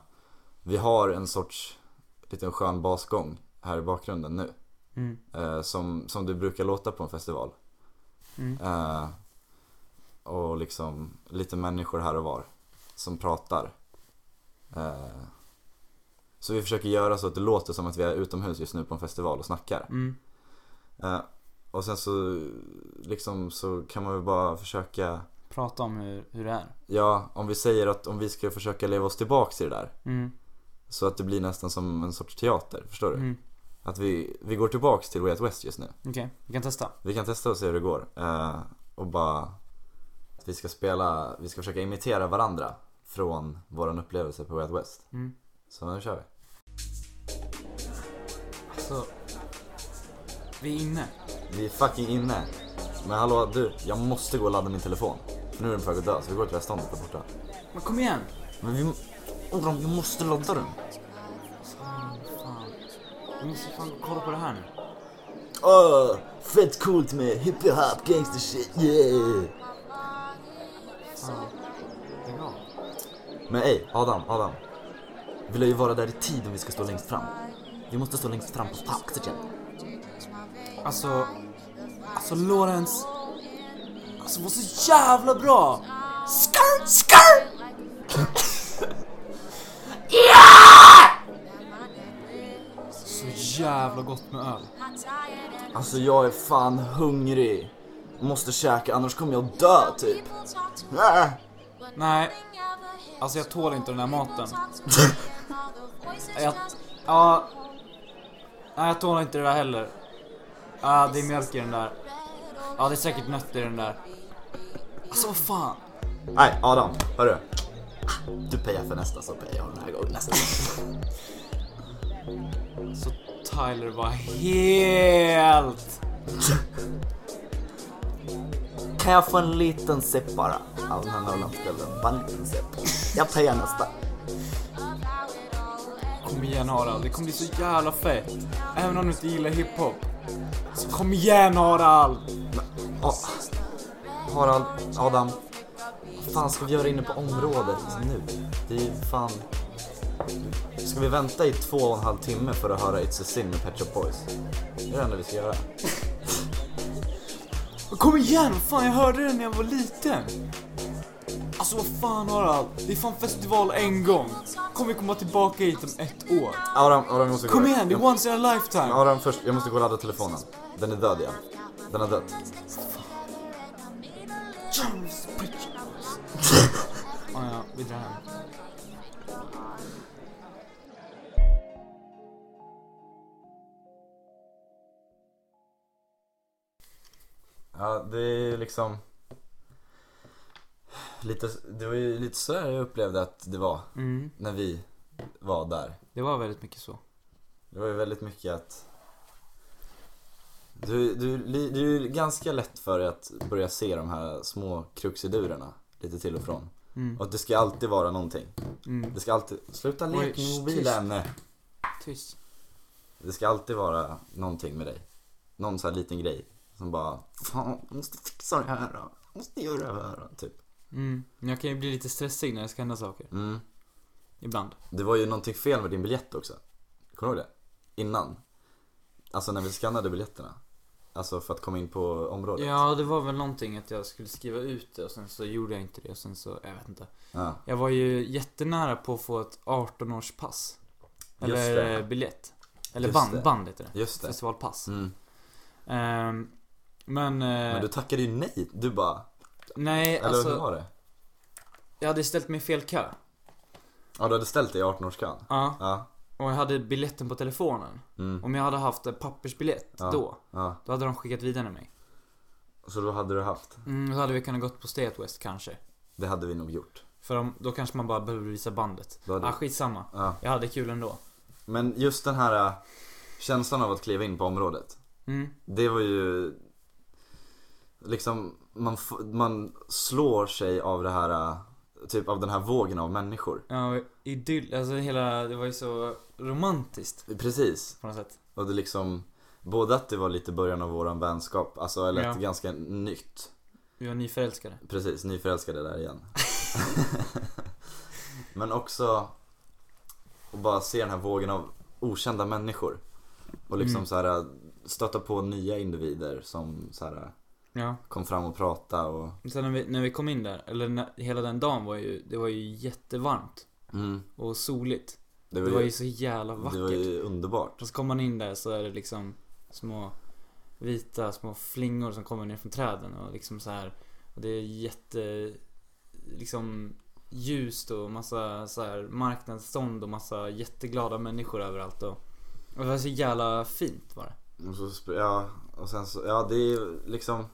Speaker 1: vi har en sorts liten skön basgång här i bakgrunden nu.
Speaker 2: Mm.
Speaker 1: Eh, som, som du brukar låta på en festival.
Speaker 2: Mm.
Speaker 1: Eh, och liksom lite människor här och var som pratar. Eh, så vi försöker göra så att det låter som att vi är utomhus just nu på en festival och snackar.
Speaker 2: Mm.
Speaker 1: Eh, och sen så liksom så kan man väl bara försöka
Speaker 2: Prata om hur, hur det är.
Speaker 1: Ja, om vi säger att om vi ska försöka leva oss tillbaks i det där
Speaker 2: Mm.
Speaker 1: Så att det blir nästan som en sorts teater, förstår du?
Speaker 2: Mm.
Speaker 1: Att vi, vi går tillbaks till Way Out West just nu
Speaker 2: Okej, vi kan testa.
Speaker 1: Vi kan testa och se hur det går eh, Och bara att Vi ska spela, vi ska försöka imitera varandra Från våran upplevelse på Way Out West
Speaker 2: Mm.
Speaker 1: Så nu kör vi
Speaker 2: Alltså, vi är inne.
Speaker 1: Vi är fucking inne Men hallå du, jag måste gå och ladda min telefon Nu är den på väg att dö så vi går till västståndet där borta
Speaker 2: Men kom igen!
Speaker 1: Men vi, Adam, vi måste ladda den
Speaker 2: Fan, fan. Vi måste fan kolla på det här nu.
Speaker 1: Åh, fett coolt med hiphop, gangster shit, yeah!
Speaker 2: Fan. Lägg av.
Speaker 1: Men ey, Adam, Adam. Vi vill ju vara där i tid om vi ska stå längst fram. Vi måste stå längst fram på taxen.
Speaker 2: Alltså, alltså Lorenz. Alltså var så jävla bra! Skrrt, skrrt! Så jävla gott med öl.
Speaker 1: Alltså jag är fan hungrig. Måste käka annars kommer jag dö typ. Äh.
Speaker 2: Nej, alltså jag tål inte den här maten. jag, ja, nej jag tål inte det där heller. Ja, det är mjölk i den där. Ja, det är säkert nötter i den där. Alltså vad fan.
Speaker 1: Nej, Adam, hörru. Du pejar för nästa så pejar jag den här gången nästa gång.
Speaker 2: Så Tyler var helt...
Speaker 1: Kan jag få en liten sipp bara? Av den här Norrlandsgubben, bara en liten sipp. Jag pejar nästa.
Speaker 2: Kom igen Harald, det kommer bli så jävla fett. Även om du inte gillar hiphop. Så kom igen Harald!
Speaker 1: Ja. Harald, Adam. Vad fan ska vi göra inne på området nu? Det är ju fan... Ska vi vänta i två och en halv timme för att höra It's a sin med Pet Shop Boys? Det är det enda vi ska göra.
Speaker 2: Men Kom igen, fan jag hörde den när jag var liten. Alltså vad fan Harald, det är fan festival en gång. Kommer vi komma tillbaka hit om ett år?
Speaker 1: Adam, Adam jag måste gå.
Speaker 2: Kom igen, det är
Speaker 1: Jag-
Speaker 2: once in a lifetime.
Speaker 1: Adam först, jag måste gå och ladda telefonen. Den är död igen. Den har dött.
Speaker 2: Charles Bridges. ah, ja, vi drar hem.
Speaker 1: Ja, det är ju liksom... Lite, det var ju lite så här jag upplevde att det var
Speaker 2: Mm,
Speaker 1: när vi var där.
Speaker 2: det var väldigt mycket så.
Speaker 1: Det var ju väldigt mycket att du, du, li- det är ju ganska lätt för dig att börja se de här små kruxidurerna lite till och från.
Speaker 2: Mm.
Speaker 1: Och att det ska alltid vara någonting.
Speaker 2: Mm.
Speaker 1: Det ska alltid... Sluta
Speaker 2: Oj,
Speaker 1: leka med
Speaker 2: tyst.
Speaker 1: mobilen!
Speaker 2: Tyst.
Speaker 1: Det ska alltid vara någonting med dig. Någon sån här liten grej som bara Fan, jag måste fixa det här då. Jag måste göra det här då. Typ.
Speaker 2: Mm. men Jag kan ju bli lite stressig när det ska hända saker.
Speaker 1: Mm.
Speaker 2: Ibland.
Speaker 1: Det var ju någonting fel med din biljett också. Kommer du ihåg det? Innan. Alltså när vi skannade biljetterna. Alltså för att komma in på området.
Speaker 2: Ja, det var väl någonting att jag skulle skriva ut det och sen så gjorde jag inte det och sen så, jag vet inte.
Speaker 1: Ja.
Speaker 2: Jag var ju jättenära på att få ett 18-årspass.
Speaker 1: Just
Speaker 2: Eller
Speaker 1: det.
Speaker 2: biljett. Eller
Speaker 1: Just
Speaker 2: band,
Speaker 1: det.
Speaker 2: band heter det.
Speaker 1: Just det.
Speaker 2: Festivalpass.
Speaker 1: Mm.
Speaker 2: Ehm, men, eh,
Speaker 1: Men du tackade ju nej. Du bara,
Speaker 2: nej
Speaker 1: eller hur
Speaker 2: alltså,
Speaker 1: var det?
Speaker 2: jag hade ställt mig i fel kö.
Speaker 1: Ja, du hade ställt dig i 18-årskön.
Speaker 2: Ja,
Speaker 1: Ja,
Speaker 2: och jag hade biljetten på telefonen.
Speaker 1: mm,
Speaker 2: Om jag hade haft en pappersbiljett
Speaker 1: Ja.
Speaker 2: då,
Speaker 1: ja.
Speaker 2: då hade de skickat vidare mig.
Speaker 1: Så då hade du haft.
Speaker 2: Mm, då hade vi kunnat gått på Stay at West kanske.
Speaker 1: Det hade vi nog gjort.
Speaker 2: För om, då kanske man bara behöver visa bandet.
Speaker 1: Då hade-
Speaker 2: Ah, skitsamma.
Speaker 1: Ja.
Speaker 2: Jag hade kul ändå.
Speaker 1: Men just den här äh, känslan av att kliva in på området.
Speaker 2: Mm.
Speaker 1: Det var ju liksom, man, f- man slår sig av det här äh, typ av den här vågen av människor.
Speaker 2: Ja, idyll, alltså hela, det var ju så romantiskt
Speaker 1: Precis.
Speaker 2: på något sätt.
Speaker 1: Och det liksom, både att det var lite början av våran vänskap, alltså eller att
Speaker 2: Ja.
Speaker 1: ganska nytt.
Speaker 2: Vi var nyförälskade.
Speaker 1: Precis, nyförälskade där igen. Men också att bara se den här vågen av okända människor. Och liksom
Speaker 2: Mm.
Speaker 1: så här stöta på nya individer som så här
Speaker 2: Ja.
Speaker 1: kom fram och pratade och
Speaker 2: Sen när vi, när vi kom in där, eller när, hela den dagen var ju, det var ju jättevarmt
Speaker 1: mm,
Speaker 2: och soligt. Det var ju så jävla
Speaker 1: det
Speaker 2: vackert.
Speaker 1: var ju underbart.
Speaker 2: Och så kommer man in där så är det liksom små vita små flingor som kommer ner från träden och liksom så här. Och det är jätte liksom ljust och massa så här marknadsstånd och massa jätteglada människor överallt och, och det var så jävla fint var det.
Speaker 1: Och så, sp- ja, och sen så, ja det är liksom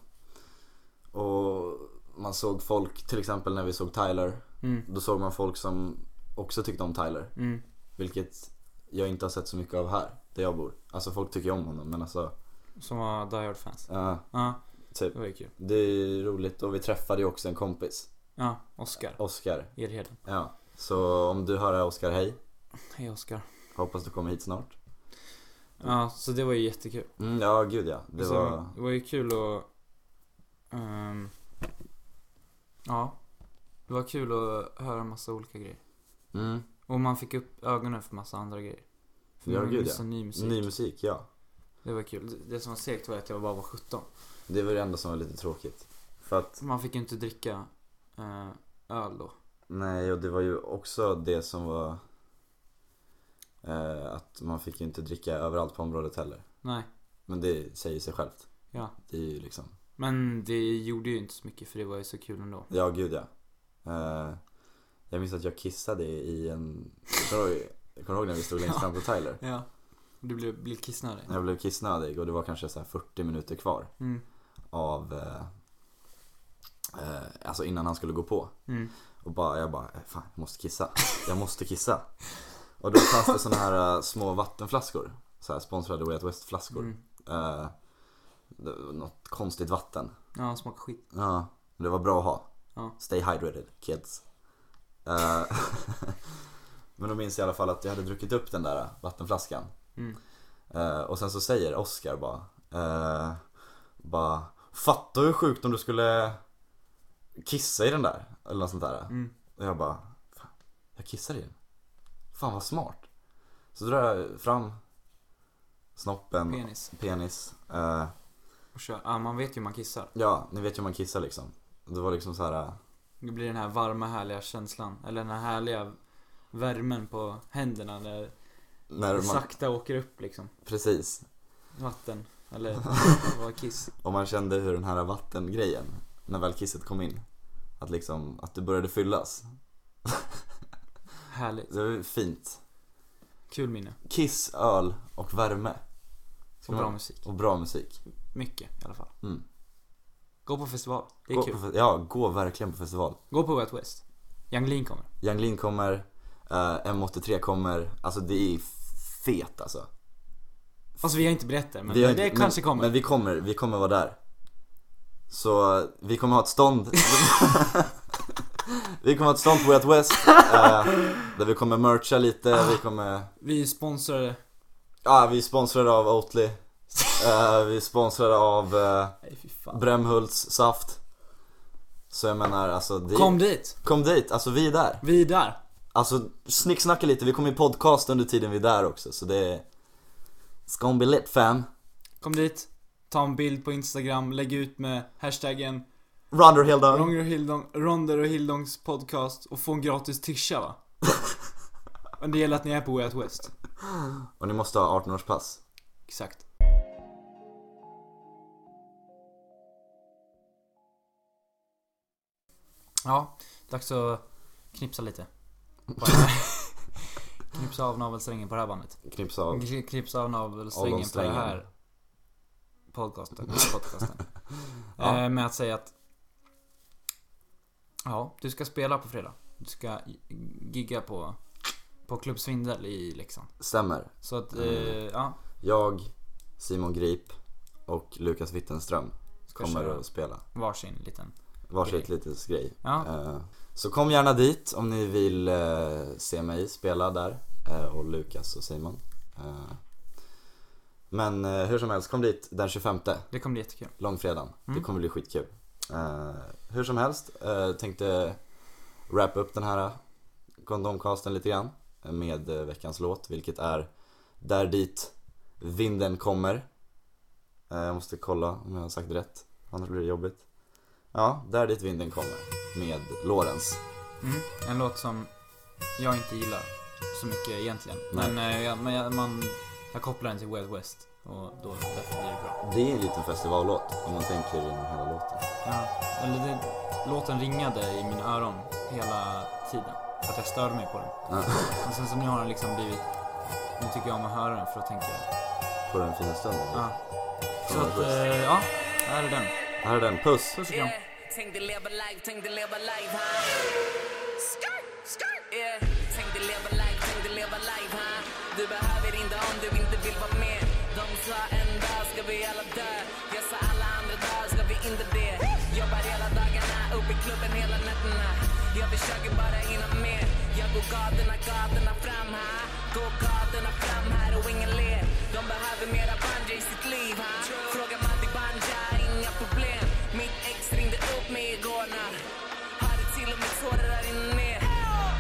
Speaker 1: och man såg folk, till exempel när vi såg Tyler,
Speaker 2: Mm,
Speaker 1: då såg man folk som också tyckte om Tyler.
Speaker 2: mm,
Speaker 1: Vilket jag inte har sett så mycket av här, där jag bor. Alltså folk tycker ju om honom men alltså,
Speaker 2: som var Die Hard fans.
Speaker 1: ja
Speaker 2: Ja,
Speaker 1: typ.
Speaker 2: det var ju kul.
Speaker 1: Det är roligt och vi träffade ju också en kompis,
Speaker 2: Ja, Oscar.
Speaker 1: Oskar.
Speaker 2: Edheden.
Speaker 1: Ja, så om du hör det här, Oskar, hej.
Speaker 2: Hej Oscar.
Speaker 1: Hoppas du kommer hit snart.
Speaker 2: Ja, så det var ju jättekul.
Speaker 1: Mm, ja, gud ja. Det
Speaker 2: Alltså,
Speaker 1: var...
Speaker 2: det var ju kul att... ehm, ja. Det var kul att höra massa olika grejer.
Speaker 1: Mm,
Speaker 2: Och man fick upp ögonen för massa andra grejer. För
Speaker 1: Ja,
Speaker 2: man
Speaker 1: gud,
Speaker 2: missade ny musik.
Speaker 1: ny musik, ja.
Speaker 2: Det var kul. Det- Det som var segt var att jag bara var 17.
Speaker 1: Det var det enda som var lite tråkigt. För att,
Speaker 2: Man fick ju inte dricka eh, öl då.
Speaker 1: nej, och det var ju också det som var... Eh, att man fick ju inte dricka överallt på området heller.
Speaker 2: Nej.
Speaker 1: Men det säger sig självt.
Speaker 2: Ja.
Speaker 1: Det är ju liksom...
Speaker 2: Men det gjorde ju inte så mycket för det var ju så kul ändå.
Speaker 1: Ja, gud ja. Eh, jag minns att jag kissade i en... Kommer du ihåg- kommer du ihåg när vi stod längst fram på Tyler?
Speaker 2: Ja. Du blev, blev kissnödig.
Speaker 1: Jag blev kissnödig och det var kanske så här 40 minuter kvar
Speaker 2: Mm.
Speaker 1: av... Eh, eh, alltså innan han skulle gå på.
Speaker 2: Mm.
Speaker 1: Och bara, jag bara, eh, fan jag måste kissa. Jag måste kissa. Och då fanns det såna här eh, små vattenflaskor. Så här sponsrade Way Out West flaskor.
Speaker 2: Mm.
Speaker 1: Eh, det var något konstigt vatten.
Speaker 2: Ja, han smakade skit.
Speaker 1: Ja, men det var bra att ha.
Speaker 2: Ja.
Speaker 1: Stay hydrated kids. Eh, men då minns jag i alla fall att jag hade druckit upp den där vattenflaskan.
Speaker 2: Mm.
Speaker 1: Eh, och sen så säger Oscar bara, eh, bara Fattar hur sjukt om du skulle kissa i den där. Eller något sånt där.
Speaker 2: Mm.
Speaker 1: Och jag bara, fan, jag kissar i den. Fan vad smart. Så drar jag fram snoppen,
Speaker 2: Penis.
Speaker 1: penis eh,
Speaker 2: Och kör. Ja, man vet ju hur man kissar.
Speaker 1: Ja, ni vet ju hur man kissar liksom. Det var liksom så här.
Speaker 2: Det blir den här varma härliga känslan, eller den här härliga värmen på händerna när
Speaker 1: När
Speaker 2: det
Speaker 1: man,
Speaker 2: sakta åker upp liksom.
Speaker 1: Precis.
Speaker 2: Vatten, eller vad kiss.
Speaker 1: Och man kände hur den här vattengrejen, när väl kisset kom in, att liksom, att det började fyllas.
Speaker 2: Härligt.
Speaker 1: Det var fint.
Speaker 2: Kul minne.
Speaker 1: Kiss, öl och värme.
Speaker 2: Och bra musik.
Speaker 1: Och bra musik.
Speaker 2: Mycket i alla fall.
Speaker 1: Mm.
Speaker 2: Gå på festival, det är
Speaker 1: Gå
Speaker 2: kul.
Speaker 1: på, fe- ja, gå verkligen på festival.
Speaker 2: Gå på Wet West. Yung Lean kommer.
Speaker 1: Yanglin kommer, eh, M83 kommer, alltså det är fet alltså.
Speaker 2: Fast Alltså, vi har inte berättat men
Speaker 1: Vi har
Speaker 2: det
Speaker 1: inte-
Speaker 2: kanske kommer.
Speaker 1: Men vi kommer, vi kommer vara där. Så eh, vi kommer ha ett stånd. vi kommer ha ett stånd på Way Out West. eh, där vi kommer mercha lite, vi kommer...
Speaker 2: Vi är sponsrade.
Speaker 1: Ja, vi är sponsrade av Oatly. Eh, vi är sponsrade av eh,
Speaker 2: Nej fy fan.
Speaker 1: Brämhults saft. Så jag menar alltså det...
Speaker 2: Kom dit!
Speaker 1: Kom dit, alltså vi är där.
Speaker 2: Vi är där.
Speaker 1: Alltså snicksnacka lite, vi kommer i podcast under tiden vi är där också så det är... It's gonna be lit fam.
Speaker 2: Kom dit. Ta en bild på Instagram, lägg ut med hashtaggen
Speaker 1: Runder Hilda.
Speaker 2: Ronger och Hildong, Ronder och Hildongs podcast och få en gratis tisha va? Men det gäller att ni är på Way Out West.
Speaker 1: Och ni måste ha 18-årspass.
Speaker 2: Exakt. Ja, dags att knipsa lite. Bara- knipsa av navelsträngen på det här bandet.
Speaker 1: Knipsa av.
Speaker 2: Kn- Knipsa av navelsträngen på den
Speaker 1: Ollonsträngen.
Speaker 2: här podcasten. Den här podcasten.
Speaker 1: Ja.
Speaker 2: Eh, Med att säga att Ja, du ska spela på fredag. Du ska gigga på, på Klubb Svindel i Leksand.
Speaker 1: Stämmer.
Speaker 2: Så att, eh, ja.
Speaker 1: Jag, Simon Grip och Lukas Wittenström
Speaker 2: Ska
Speaker 1: kommer
Speaker 2: köra
Speaker 1: att spela.
Speaker 2: varsin liten
Speaker 1: varsitt litet grej.
Speaker 2: Ja.
Speaker 1: Eh, Så kom gärna dit om ni vill eh, se mig spela där. eh, Och Lukas och Simon. Eh, Men eh, hur som helst, kom dit den 25.
Speaker 2: Det kommer bli jättekul.
Speaker 1: Långfredagen. Det kommer bli skitkul. Eh, Hur som helst, eh, tänkte wrap upp den här kondomcasten lite grann. Med eh, veckans låt, vilket är Där dit vinden kommer. Eh, Jag måste kolla om jag har sagt rätt, annars blir det jobbigt. Ja, Där dit vinden kommer med Lorenz.
Speaker 2: Mm. En låt som jag inte gillar så mycket egentligen.
Speaker 1: Nej.
Speaker 2: Men, eh, jag, men jag, man, jag kopplar den till Wild West och då därför blir det bra.
Speaker 1: Det är en liten festivallåt om man tänker genom hela låten.
Speaker 2: Ja. Eller det, låten ringade i mina öron hela tiden. För att jag störde mig på den.
Speaker 1: Ja,
Speaker 2: Men sen så nu har den liksom blivit... Nu tycker jag om att höra den för att tänka...
Speaker 1: på den fina stunden.
Speaker 2: Ja. Så att, eh, ja. Här är den.
Speaker 1: Här är den, puss!
Speaker 2: Puss och kram.
Speaker 6: Tänkte leva life, tänkte leva life, ha? Skirt, skirt! Yeah. Tänkte Eh, leva life, tänkte leva life, ha? Du behöver inte om du inte vill vara med. De sa en dag ska vi alla dö. Jag sa alla andra dagar ska vi inte det. Jobbar hela dagarna, upp i klubben hela nätterna. Jag försöker bara hinna med. Jag går gatorna, gatorna fram, ha? Går gatorna fram här och ingen ler. De behöver mera bungee i sitt liv, ha? Fråga Matti Banja, inga problem. Mitt ex ringde upp mig igår när hade till och med tårar där inne ner.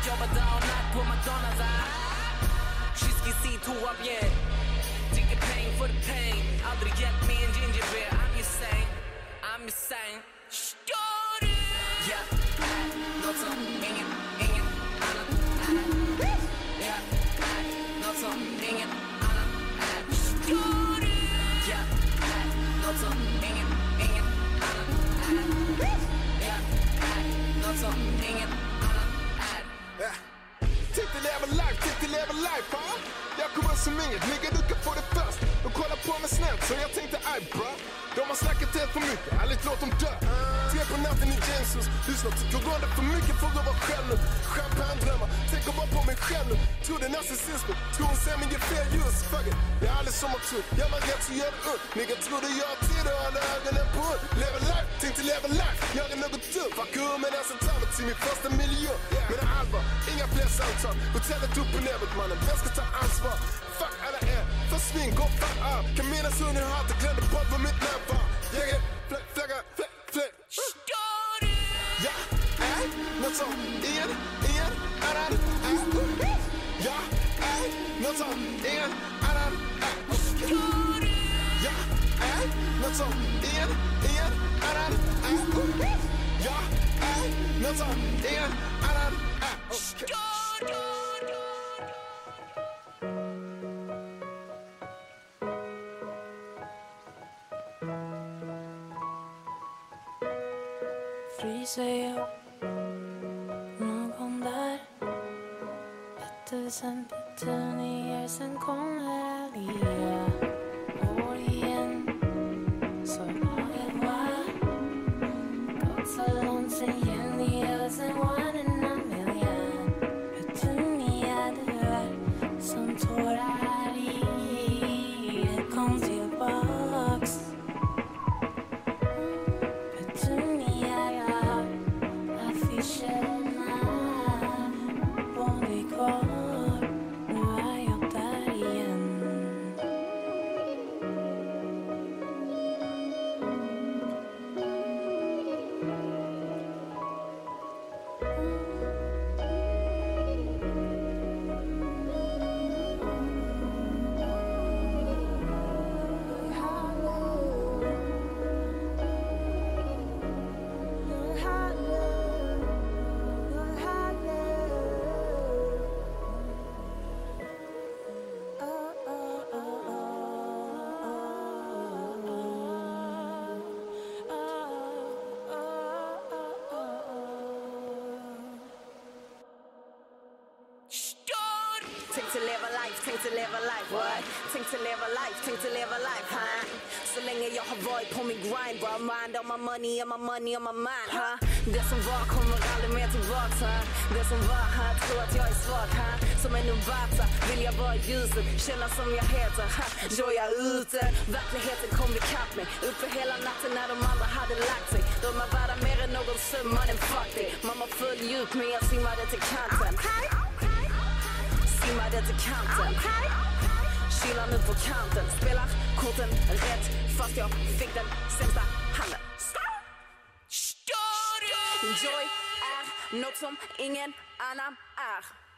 Speaker 6: Jobbar dag och natt på McDonalds. ah. Kyski si toa bjäll. Dricker pain for the pain. Aldrig hjälpt mig en ginger beer. I'm just saying, I'm just saying. Förstår du? Ja, äh, något som ingen, ingen annan är. Ja, äh, något som ingen annan är. Förstår du? Ja, äh, något som ingen, ingen annan är. Ja, äh, något som ingen annan är.
Speaker 7: Tänkte leva life, tänkte leva life, va? Jag kommer som inget, nigga du kan få det först. De kollar på mig snett så jag tänkte aj bra. De har snackat helt för mycket, ärligt låt dem dö. Tre på natten i Jesus, lyssnat till Corona för mycket för att vara själv nu. Champagne-drömmar, tänker bara på mig själv nu. Trodde narcissismen, tror hon ser mig ge fel ljus. Fuck it, jag är aldrig som man tror. Gör man rätt så gör det ont. Nigga trodde jag har tid och håller ögonen på hund. Leva life, tänkte leva life, göra något dumt. Fuck hur men alltså ta mig till min första miljö. Men allvar, inga fler samtal. Hotellet upp och ner mot mannen, vem ska ta ansvar? Fuck alla er, försvinn, gå fan av. Kan minnas hur ni hatar, glömde bort vad mitt namn var. Jag är fläck, flagga, fläck, fläck.
Speaker 6: Förstår du?
Speaker 7: Ja, är något som ingen, ingen annan är. Ja, är något som ingen annan är. Ja, är något som ingen, ingen annan är. Ja, är något som ingen annan är. Okej.
Speaker 8: Fryser jag någon där? Ett tusen petunior, sen kommer Alia År igen, så var det va? Gått så långt sen Jenny och sen one in a million Petunia, du är som tårar i Kom tillbaks
Speaker 6: Förstår du? Tänkte leva life, tänkte leva life, what? Tänkte leva life, tänkte leva life, huh? Så länge jag har varit på min grind, bara mind on my money, on my money, on my mind, huh? Det som var kommer aldrig mer tillbaks, huh? Det som var, huh? Tror att jag är svag, huh? Som en novata vill jag vara i ljuset, känna som jag heter, huh? Då jag är ute, verkligheten kom ikapp mig. Uppe hela natten när de andra hade lagt sig. De är värda mer än någon
Speaker 5: sömmar den fuck dig Mamma föll djupt men jag simmade till kanten Simmade till kanten Chillar nu på kanten Spelar korten rätt fast jag fick den sämsta handen Förstår du? Joy är något som ingen annan är